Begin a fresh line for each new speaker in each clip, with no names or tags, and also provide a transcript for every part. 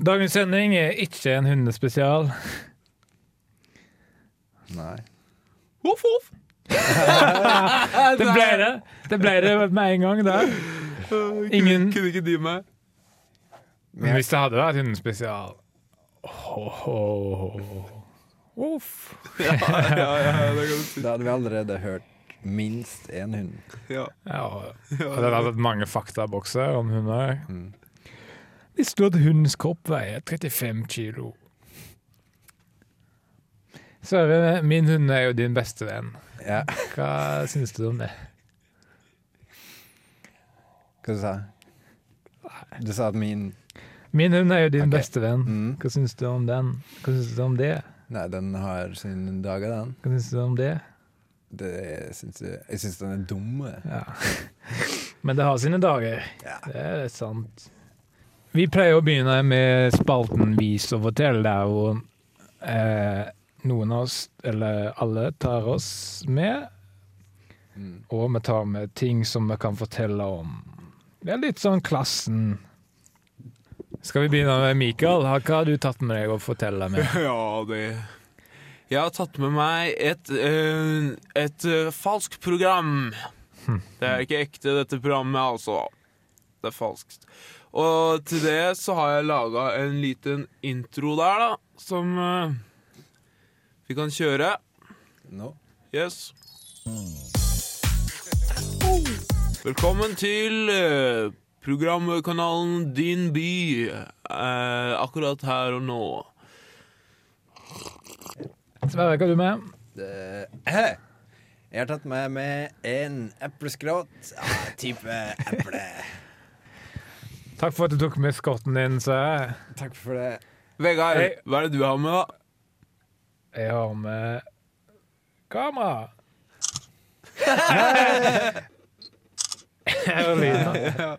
Dagens sending er ikke en hundespesial.
Nei.
Voff, voff. det ble det. Det ble det med en gang der. Ingen-
Kunne ikke de meg?
Men hvis det hadde vært hundespesial oh, Voff.
Ja, ja, ja, det kan du si.
Da hadde vi allerede hørt minst én hund.
Ja.
Ja, og det hadde vært mange faktabokser om hunder. Visste du at hundens kropp veier 35 kilo? Sverre, min hund er jo din beste venn.
Ja,
Hva syns du om det?
hva du sa du? Du sa at min
Min hund er jo din
Ok.
beste venn.
Mm.
Hva syns du om den? Hva syns du om det?
Nei, den har sine dager, den.
Hva syns du om det?
Det syns jeg Jeg syns den er eh, dumme.
Ja. Men det har sine dager.
Ja.
Det er sant. Vi pleier å begynne med spalten Vis og fortell, der hvor eh, noen av oss, eller alle, tar oss med.
Mm.
Og vi tar med ting som vi kan fortelle om. Det er litt sånn klassen. Skal vi begynne med Mikael? Hva har du tatt med deg å fortelle med?
ja, det Jeg har tatt med meg et, eh, et eh, falskt program. Det er ikke ekte, dette programmet, altså. Det er falskt. Og til det så har jeg laga en liten intro der, da, som eh, vi kan kjøre.
Nå.
Yes. Velkommen til eh, programkanalen Din by, eh, akkurat her og nå.
Sverre, hva har du med?
Det- eh, Jeg har tatt med meg en epleskrot av type eple.
Takk for at du tok med skotten din, Sverre.
Takk for det.
Vegard,
Hei.
hva er det du har med, da?
Jeg har med kamera. Her er lyden.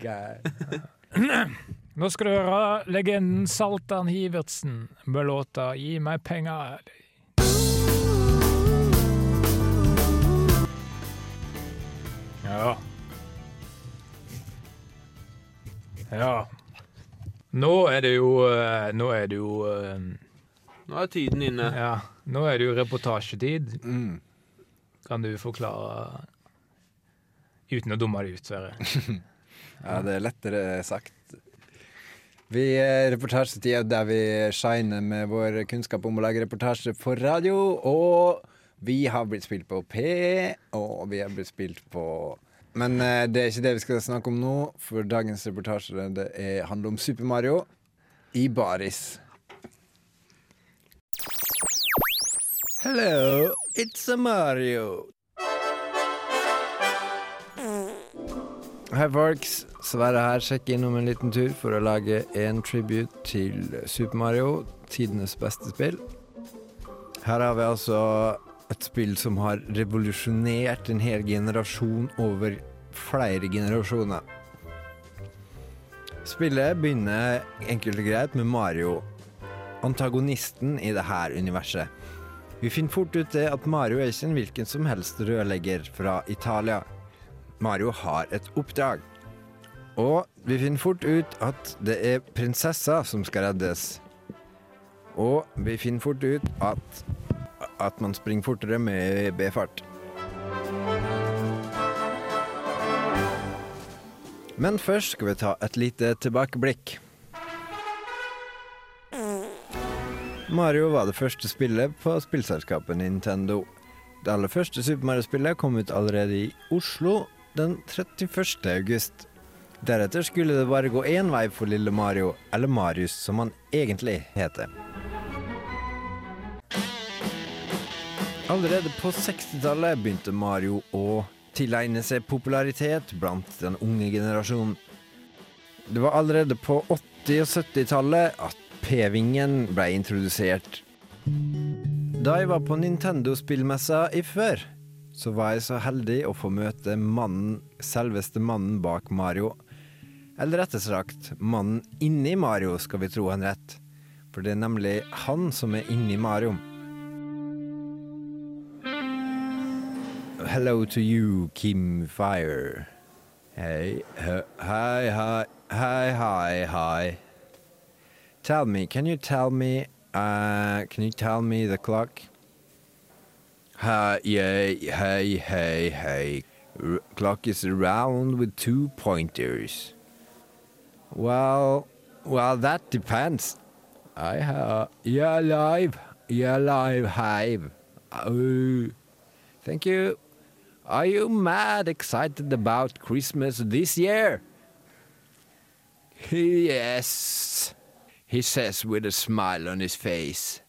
Geir.
Nå skal du høre legenden Saltan Hivertsen med låta 'Gi meg penger'. Ja. Ja. Nå er det jo eh, Nå er det jo eh,
Nå er tiden inne.
Ja, nå er det jo reportasjetid.
Mm.
Kan du forklare Uten å dumme deg ut, Sverre.
Ja, det er lettere sagt. Vi reportasjetida der vi shiner med vår kunnskap om å lage reportasje for radio, og vi har blitt spilt på P, og vi har blitt spilt på Men eh, det er ikke det vi skal snakke om nå, for dagens reportasje det er, handler om Super Mario i baris. Hello, it's a Mario. Hei, folks. Sverre her. Sjekk innom en liten tur for å lage en tribute til Super Mario, tidenes beste spill. Her har vi altså et spill som har revolusjonert en hel generasjon over flere generasjoner. Spillet begynner enkelt og greit med Mario, antagonisten i det her universet. Vi finner fort ut det at Mario er ikke en hvilken som helst rødlegger fra Italia. Mario har et oppdrag. Og vi finner fort ut at det er prinsessa som skal reddes. Og vi finner fort ut at, at man springer fortere med B-fart. Men først skal vi ta et lite tilbakeblikk. Mario var det første spillet på spillselskapet Nintendo. Det aller første Super Mario-spillet kom ut allerede i Oslo den 31. august. Deretter skulle det bare gå én vei for lille Mario, eller Marius som han egentlig heter. Allerede på 60-tallet begynte Mario å tilegne seg popularitet blant den unge generasjonen. Det var allerede på 80- og 70-tallet at P-vingen ble introdusert da jeg var på Nintendo-spillmessa i før, så var jeg så heldig å få møte mannen, selveste mannen bak Mario. Eller rettere sagt, mannen inni Mario, skal vi tro han rett. For det er nemlig han som er inni Mario. Hello to you, Kim Fire. Hei, hø- hei, hei, hei, hei, hei. Tell me, can you tell me uh, Can you tell me the clock? Hey, yay, hey, hey, hey. R- clock is round with two pointers. Well, well, that depends. I have. Yeah, alive. Yeah, alive, hive. Oh, thank you. Are you mad excited about Christmas this year? Yes, he says with a smile on his face.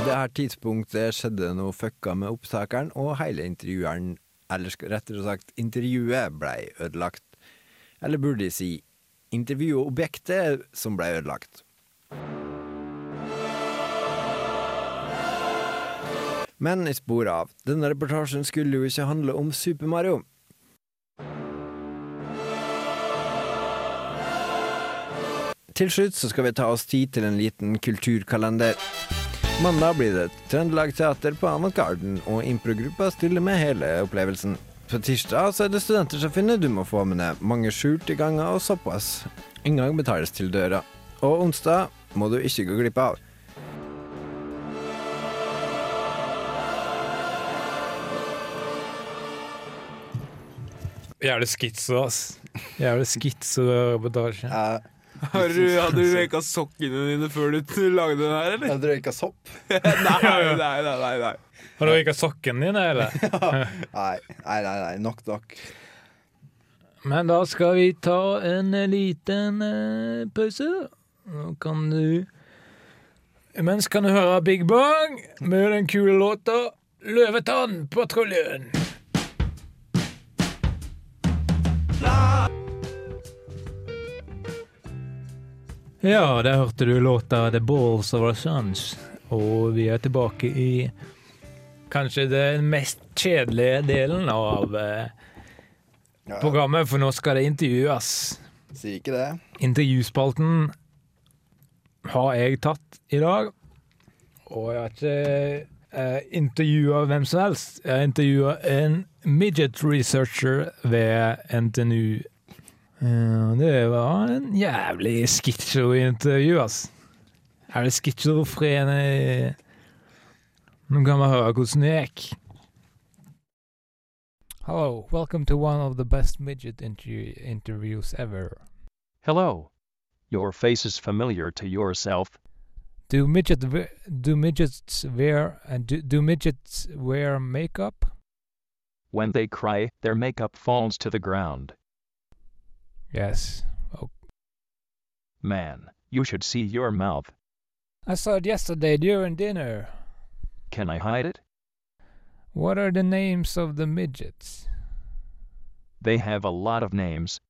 På det her tidspunktet skjedde noe fucka med opptakeren, og hele intervjueren, eller sk- rettere sagt, intervjuet blei ødelagt. Eller burde jeg si intervjuobjektet som blei ødelagt. Men i spor av, denne reportasjen skulle jo ikke handle om Super Mario. Til slutt så skal vi ta oss tid til en liten kulturkalender. Mandag blir det Trøndelag Teater på Avant Garden, og improgruppa stiller med hele opplevelsen. På tirsdag så er det Studentersamfunnet du må få med deg. Mange skjulte ganger og såpass. Inngang betales til døra. Og onsdag må du ikke gå glipp av.
Jævlig skitser, ass. Jævlig skitser reportasje.
Har du, hadde du røyka sokkene dine før du lagde den her, eller?
Jeg røyka sopp.
Nei, nei, nei, nei, nei.
Har du røyka sokken din, eller?
Nei, nei, nei, nei. nok nok.
Men da skal vi ta en liten eh, pause. Nå kan du Imens kan du høre Big Bang med den kule låta 'Løvetann-patruljen'. Ja, der hørte du låta 'The Balls of Our Sons'. Og vi er tilbake i kanskje den mest kjedelige delen av eh,
Ja, ja.
programmet, for nå skal det intervjues.
Sier ikke det.
Intervjuspalten har jeg tatt i dag, og jeg har ikke eh, intervjua hvem som helst. Jeg har intervjua en midget researcher ved NTNU. Eh, Det var en jævlig skitsjo-intervju, ass. Er det skitsjofrene Nå kan vi høre hvordan det gikk. Hello, welcome to one of the best midget interview interviews ever.
Hello. Your face is familiar to yourself.
Do midget we- do midgets wear and do, do midgets wear makeup?
When they cry, their makeup falls to the ground.
Yes.
Man, you should see your mouth.
I saw it yesterday during dinner.
Can I hide it?
What are the names of the midgets?
They have a lot of names.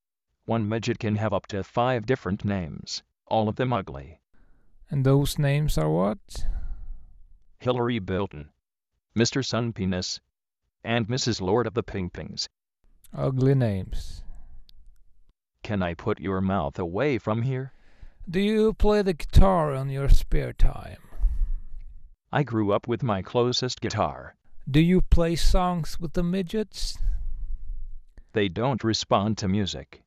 One midget can have up to five different names, all of them ugly.
And those names are what?
Hillary Bilton, Mr. Sun Penis, and Mrs. Lord of the Pingpings.
Ugly names.
Can I put your mouth away from here?
Do you play the guitar on your spare time?
I grew up with my closest guitar.
Do you play songs with the midgets?
They don't respond to music.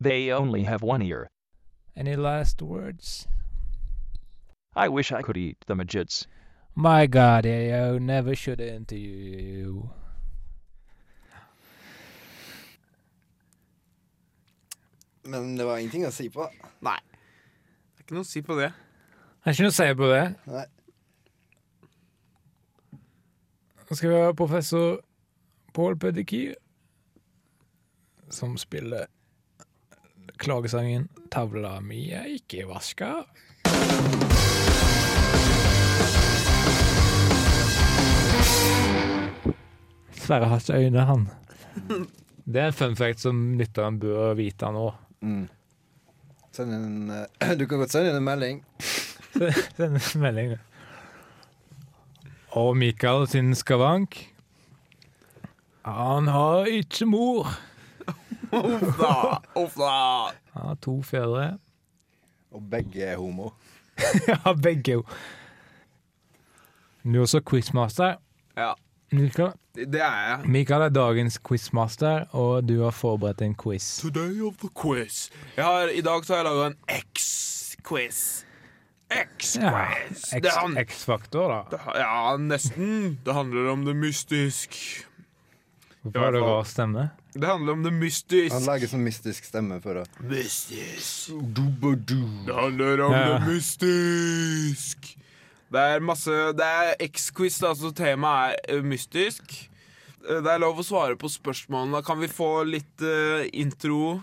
They only have one ear.
Any last words?
I wish I could eat the midgets.
My god, I never should interview you.
Men det var ingenting å si på.
Nei. Det er ikke noe å si på det.
Jeg har ikke noe å si på det.
Nei.
Nå skal vi ha professor Paul Pedikir, som spiller klagesangen 'Tavla mi er ikke vaska'. Sverre har ikke øyne, han. Det er en fun fact som lytteren bør vite nå.
Mm. Send en, eh, du kan godt sende inn en melding.
Send en melding. Og Mikael sin skavank Han har ikke mor.
Uff da, uff da.
Han har to fedre.
Og begge er homo.
Ja, begge jo. Du er også quizmaster.
Ja.
Mikael,
Det er jeg.
Mikael er dagens quizmaster, og du har forberedt en quiz.
Today of the quiz. Jeg har, I dag så har jeg laga en X-quiz. X-quiz.
Ja,
Det han-
X- X-faktor, da.
det ha- ja, nesten. Det handler om det mystisk.
Hvorfor har du
fall.
rar stemme?
Det handler om det
Han
mystisk.
lager sånn mystisk stemme for å
Mystisk.
Dubadu.
Det handler om
Ja.
det mystisk. Det er masse Det er X-quiz, da, så temaet er eh, mystisk. Eh, Det er lov å svare på spørsmålene. Kan vi få litt eh, intro?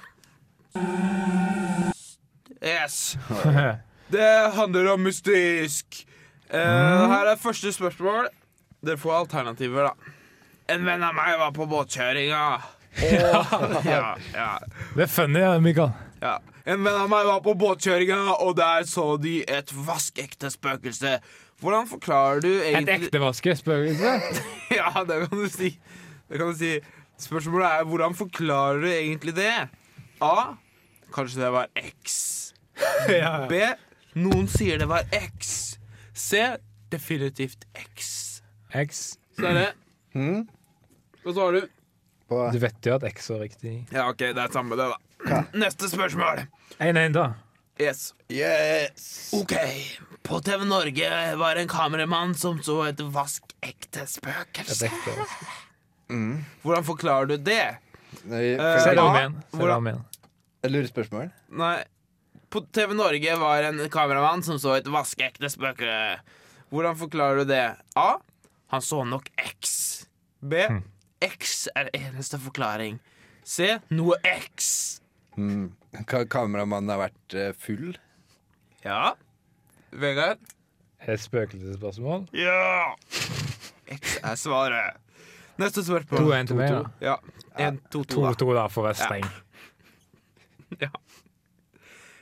Yes. Det handler om mystisk. Eh,
Mm.
her er første spørsmål. Dere får alternativer, da. En venn av meg var på båtkjøringa. Og, ja, ja.
Det er funny, ja, Mikael.
Ja. En venn av meg var på båtkjøringa, og der så de et vaskekte spøkelse. Hvordan forklarer du
Et
egentlig
ekte vaskespøkelse.
Ja, det kan du si. Det kan du si. Spørsmålet er hvordan forklarer du egentlig det? A. Kanskje det var X. B. Noen sier det var X. C. Definitivt X.
X.
Så er det.
Hm?
Hva svarer du?
På
Du vet jo at X er riktig.
Ja, OK, det er samme det, da. Neste spørsmål.
1-1, da.
Yes.
Yes!
Ok, på TV Norge var en kameramann som så et vaskekte
Et
spøkelse.
ekte vaskespøkelse.
Hvordan forklarer du det?
Nei,
Eh,
for-
Se det om
Ja,
igjen. Se det
hvordan-
om igjen.
Jeg lurer spørsmål.
Nei, på TV Norge var en kameramann som så et vaskeekte spøkelse. Hvordan forklarer du det? A. Han så nok X. B. X er eneste forklaring. C. Noe X.
Hmm. Ka kameramannen har vært eh, full?
Ja. Vegard?
Er det spøkelsesspørsmål?
Ja! X er svaret. Neste
2-1
spørsmål.
til meg, da.
Ja. En, to, to, da.
2-2, da, for å være streng.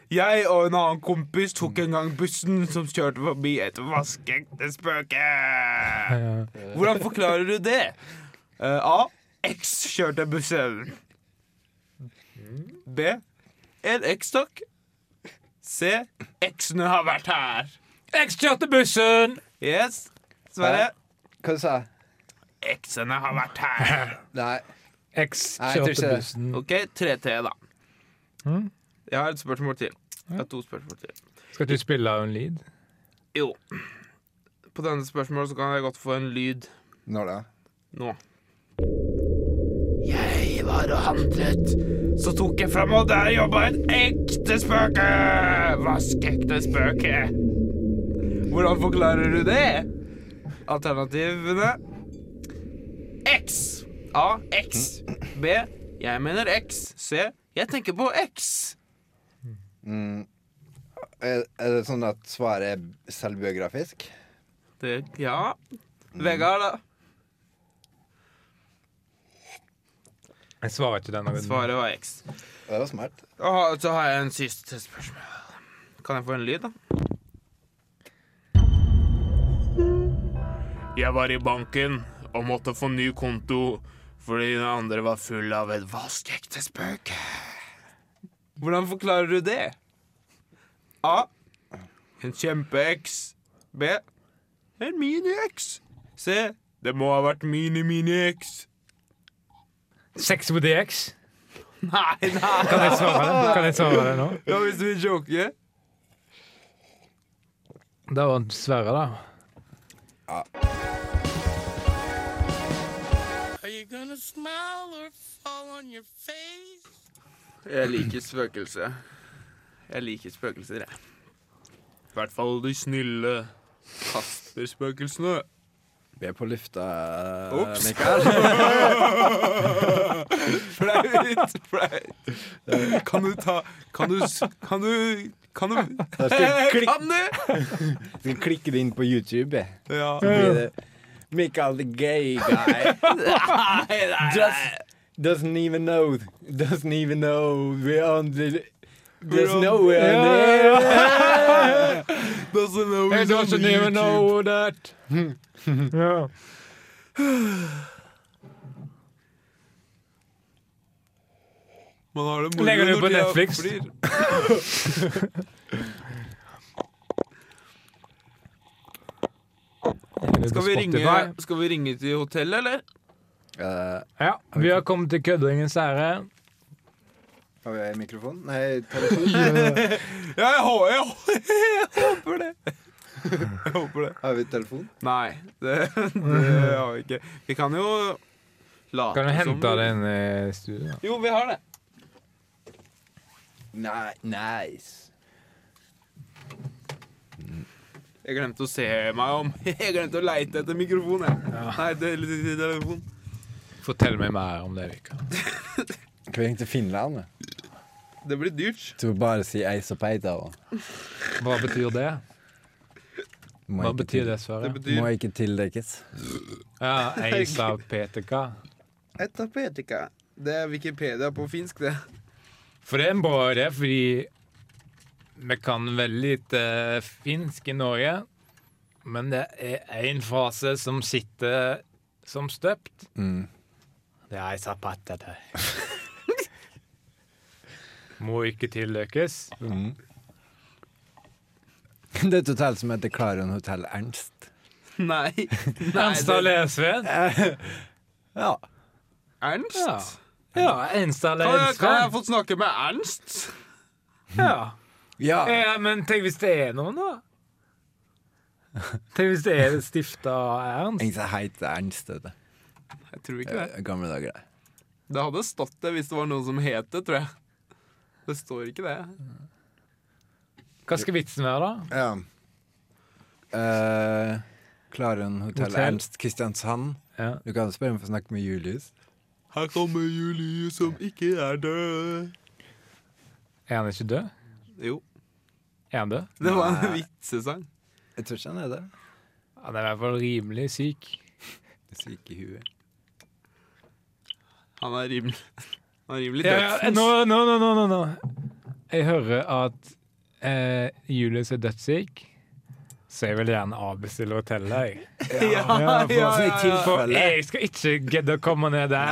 Jeg og en annen kompis tok en gang bussen som kjørte forbi et vaskeekte spøke.
Ja.
Hvordan forklarer du det? Eh, A. X kjørte bussen. B. En X-stokk. C. X-ene har vært her.
X kjørte bussen!
Yes. Sverre.
Hva du sa du?
X-ene har vært her.
Nei.
X
Nei, jeg tror
kjørte
ikke det.
bussen.
OK, 3T, da.
Mhm.
Jeg har et spørsmål til. Jeg har to spørsmål til.
Skal ikke du spille av en lyd?
Jo. På denne spørsmålet så kan jeg godt få en lyd.
Når da?
nå. Jeg var og handlet, så tok jeg fram, og der jobba et ekte spøke! Vaskeekte spøke. Hvordan forklarer du det? Alternativene X. A. X. B. Jeg mener X. C. Jeg tenker på X.
Mm. Er, er det sånn at svaret er selvbiografisk?
Det, ja. Vegard, da?
Jeg svarer ikke denne runden.
Svaret var X.
Det var smart.
Og så har jeg en siste spørsmål. Kan jeg få en lyd, da? Jeg var i banken og måtte få ny konto fordi den andre var full av et vaskeekte spøke. Hvordan forklarer du det? A. En kjempe-X. B. En mini-X. C. Det må ha vært mini-mini-X.
Sex with the X.
Nei, nei.
Kan jeg svare det? Kan jeg svare det nå?
Ja, hvis du vil joke.
Da vant Sverre, da.
Jeg liker spøkelse. Jeg liker spøkelser, jeg. I hvert fall de snille Kasper-spøkelsene.
Vi er på lufta,
Ops.
Mikael.
Flaut, flaut. Kan du ta Kan du s- Kan du Kan du
Jeg skal klikke-
Kan du?
jeg skal klikke det inn på YouTube. jeg.
Ja.
Så blir det Mikael the gay guy
Nei, nei, nei.
Just- doesn't even know Doesn't even know we're on the There's
We're on-
no way on the air.
Doesn't know he's on YouTube.
that. ja.
Man har det
Legger det
moro
på
når de er-
Netflix.
blir.
finne
Skal
på
vi,
Spotify.
ringe, skal vi ringe til hotellet, eller?
Eh,
Ja, vi har kommet til køddingens ære.
har vi mikrofon? Nei, telefon?
Ja, jeg, hå- jeg, hå- jeg håper det. Jeg håper det.
Har vi telefon?
Nei, det, det har vi ikke. Vi kan jo late
Kan du
som
hente
vi-
den eh, i studio?
Jo, vi har det.
Nei, nice.
Jeg glemte å se meg om. Jeg glemte å leite etter mikrofon. Jeg. Nei, det, det, det, telefon.
Fortell meg mer om det, Vika.
Skal vi ringe til Finland? da?
det blir dyrt.
Til å bare si eis og peita. da.
Hva betyr det?
Må
Hva
ikke
betyr
til-
det, Sverre?
Det betyr
Må ikke tildekkes.
Ja, Eis av Petika.
etapetika. Det er Wikipedia på finsk, det.
For det er en bra idé, fordi vi kan veldig lite finsk i Norge. Men det er én frase som sitter som støpt.
Mm.
Det er ei zapata der. Må ikke tilløkes.
Det er et hotell som heter Clarion Hotel Ernst.
Nei. Nei
Ernstad Lesveen.
Ja.
Ernst?
Ja. Ja, Ernstad
Kan, jeg, kan jeg
Lesveen.
få snakke med Ernst?
Ja.
ja.
ja, men tenk hvis det er noen, da? Tenk hvis det er stifta Ernst?
Ingen som heter Ernst, vet du.
Jeg tror ikke det.
Eh, Gamle dager, det.
Det hadde stått det hvis det var noen som het det, tror jeg. Det står ikke det.
Hva skal vitsen være, da?
Ja. Eh, Clarion Hotel,
Hotel.
Ernst Kristiansand.
Ja.
Du kan spørre om å snakke med Julius.
Her kommer Julie som ikke er død.
Er han ikke død?
Jo,
Er han død?
det var en vitsesang.
Jeg tror ikke han er det.
Han er i hvert fall rimelig syk.
Du er syk i huet.
Han er rimelig Han er rimelig
Ja, ja,
dødsens.
nå, nå, nå, nå, nå, nå. Jeg hører at eh, Julius er dødssyk, så jeg vil gjerne avbestille hotellet. jeg.
Ja,
Ja, for-
så
ja,
i
ja, ja.
tilfelle-
For jeg skal ikke gidde å komme ned der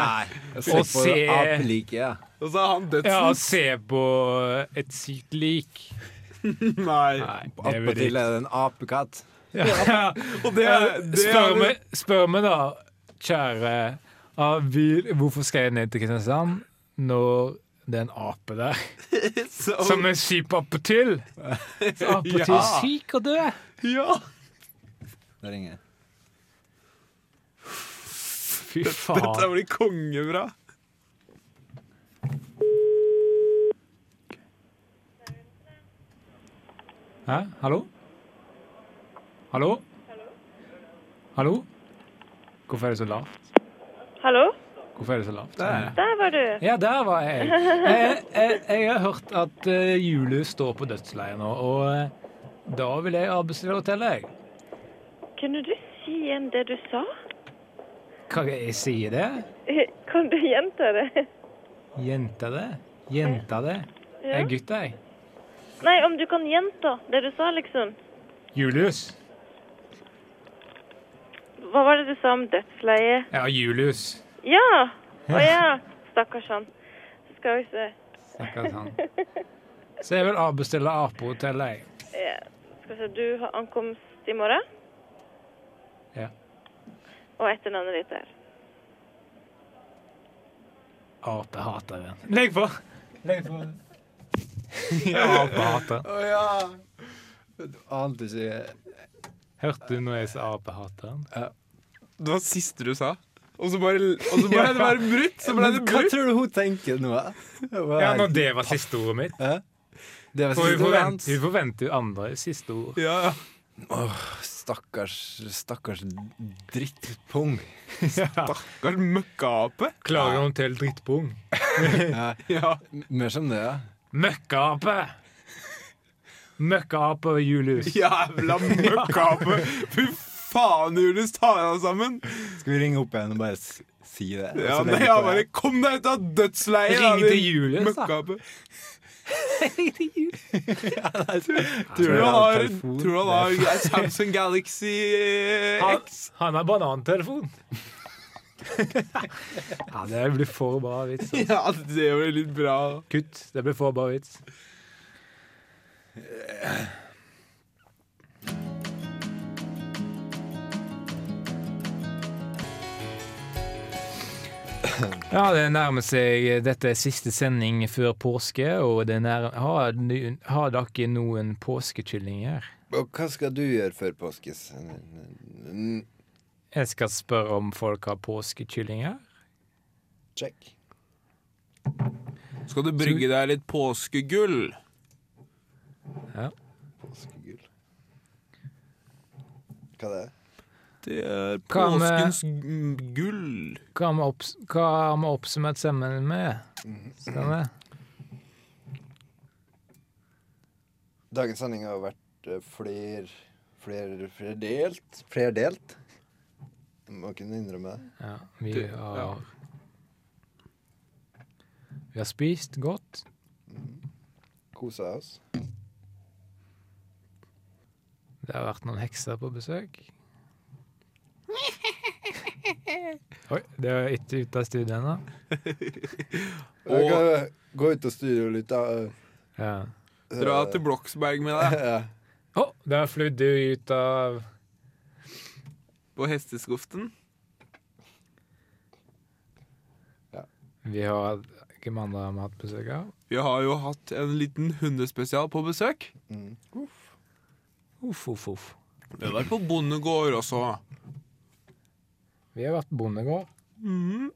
Og se
se-
apelike, ja.
Og så er han
ja, og
dødsens.
se på et sykt lik.
Nei.
Nei, det vil jeg
Attpåtil
ikke.
er det en apekatt.
Ja.
Og det er det
Spør
er-
meg, spør meg da, kjære ah, vil, Hvorfor skal jeg ned til Kristiansand når det er en ape der
så-
som er syk på appetill? Appetill
Ja.
syk og død.
Ja.
Det ringer jeg.
Fy
Dette
faen.
blir kongebra.
Hæ? Hallo? Hallo? Hallo? Hvorfor er det så lavt?
Hallo?
Hvorfor er det så lavt?
Der var du.
Ja, der var jeg. Jeg, jeg, jeg har hørt at eh, Julius står på dødsleiet nå, og eh, da vil jeg avbestille hotellet. jeg.
Kunne du si igjen det du sa?
Hva jeg sier det?
Kan du gjenta det?
Jenta det? Jenta det? Jeg er gutt, jeg.
Nei, om du kan gjenta det du sa, liksom.
Julius?
Hva var det du sa om dødsleie?
Ja, Julius.
Ja! Å ja. Stakkars han. Skal vi se.
Snakker han. sånn. Så jeg vil avbestille apehotellet, jeg.
Ja. Skal vi se. Du har ankomst i morgen?
Ja.
Og etternavnet ditt der.
Apehateren. Legg på! Legg på. ja, apehateren.
Å ja! Du ante ikke
Hørte du når jeg sa apehateren?
Det var siste du sa. Og så bare, og så ble det bare brutt. Så ble det
Hva
brutt.
tror du hun tenker nå? da? Hun var-
Ja, når det var siste ordet mitt.
Det var
For vi
siste ordet hans.
forventer, vi forventer jo andre siste ord.
Ja, ja.
Stakkars, stakkars drittpung.
Stakkars møkkaape.
Klager hun til drittpung?
Ja.
Mer som det, ja.
Møkkaape! Møkkaape og Julius.
Jævla møkkaape. Fy faen, Julius, ta deg sammen.
Skal vi ringe opp igjen og bare s- si det?
Ja,
Og så
nei,
legge
ja,
på
bare
det?
Kom deg ut av dødsleiet, da,
Ring til
din
Julius, da.
møkkaape.
Tror
Tror du
jeg
han
har
har,
telefon?
tror han har en Samsung Galaxy
Han,
X?
han har banantelefon. ja, det blir for bra vits. altså.
Ja, det blir litt bra.
Kutt. Det blir for bra vits. Ja, det nærmer seg Dette er siste sending før påske, og det nærmer, har, ny- har dere noen påskekyllinger?
Og hva skal du gjøre før påskes?
Jeg skal spørre om folk har påskekyllinger.
Check.
Skal du brygge deg litt påskegull?
Påskegull. Hva det er?
Det er
Hva med-
påskens g- gull.
Hva har vi opps hva har vi oppsummert sammen med? Stemmer?
Dagens sending har vært eh, fler... Fler... Flerdelt? Flerdelt? Må kunne innrømme det.
Ja, vi
Det- ja.
har Vi har spist godt.
Kosa oss.
Det har vært noen hekser på besøk. Oi, det er ikke ute av studiet ennå.
Jeg kan Eh, gå ut av studio litt, da.
Ja.
Dra til Bloksberg med deg
Ja.
Å, der flydde du ut av
på hesteskuften.
Vi har Hvem andre har vi hatt besøk av?
Vi har jo hatt en liten hundespesial på besøk.
Uff, uff, uff.
Vi har vært på bondegård også.
Vi har vært på bondegård.
Mm.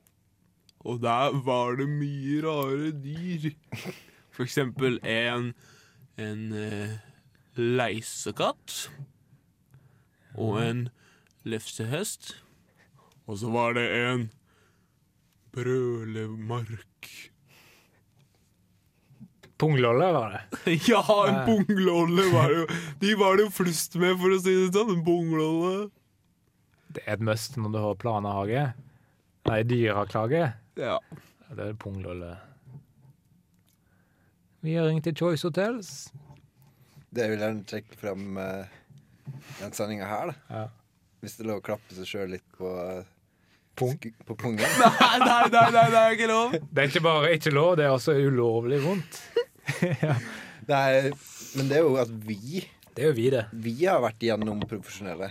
Og der var det mye rare dyr. For eksempel en, en eh, leisekatt. Og en lefsehest. Og så var det en brølemark.
Punglolle var det.
Ja, en bunglåle var det jo. De var det jo flust med, for å si det sånn. En bunglåle.
Det er et must når du har planehage. Nei, dyrehaklage.
Ja.
Ja, Det er punglolle. Vi har ringt til Choice Hotels.
Det vil jeg gjerne trekke fram eh, den sendinga her, da.
Ja.
Hvis det er lov å klappe seg sjøl litt på eh,
Pung.
sku- På pungen.
Nei, nei, nei, nei, det er ikke lov.
Det er ikke bare ikke lov, det er også ulovlig vondt.
Nei, men det er jo at vi
Det er jo vi, det.
Vi har vært gjennom profesjonelle.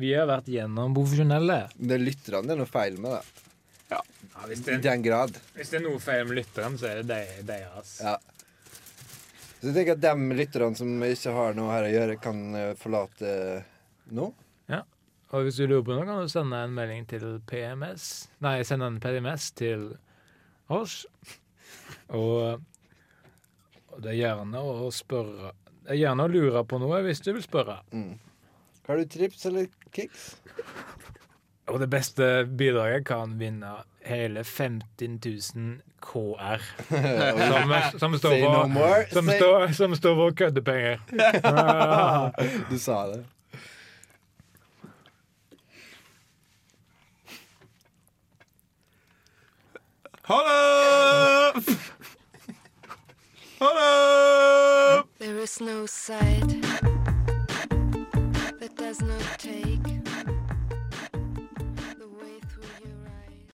Vi har vært gjennom profesjonelle.
Det er lytterne det er noe feil med, da.
Ja, hvis,
I den grad.
hvis det er noe feil med lytteren, så er det de- deres.
Ja. Så jeg tenker at de lytterne som ikke har noe her å gjøre, kan eh, forlate nå.
Og hvis du lurer på noe, kan du sende en melding til PMS Nei, sende en PMS til oss. Og, og det er gjerne å spørre Det er gjerne å lure på noe hvis du vil spørre.
Har du trips eller kicks?
Og det beste bidraget kan vinne hele 15 000 KR. Som, som står
Say no
for
more.
som
Say-
står, som står for køddepenger.
Du sa det.
Ha det! Ha det!
There is no side that does not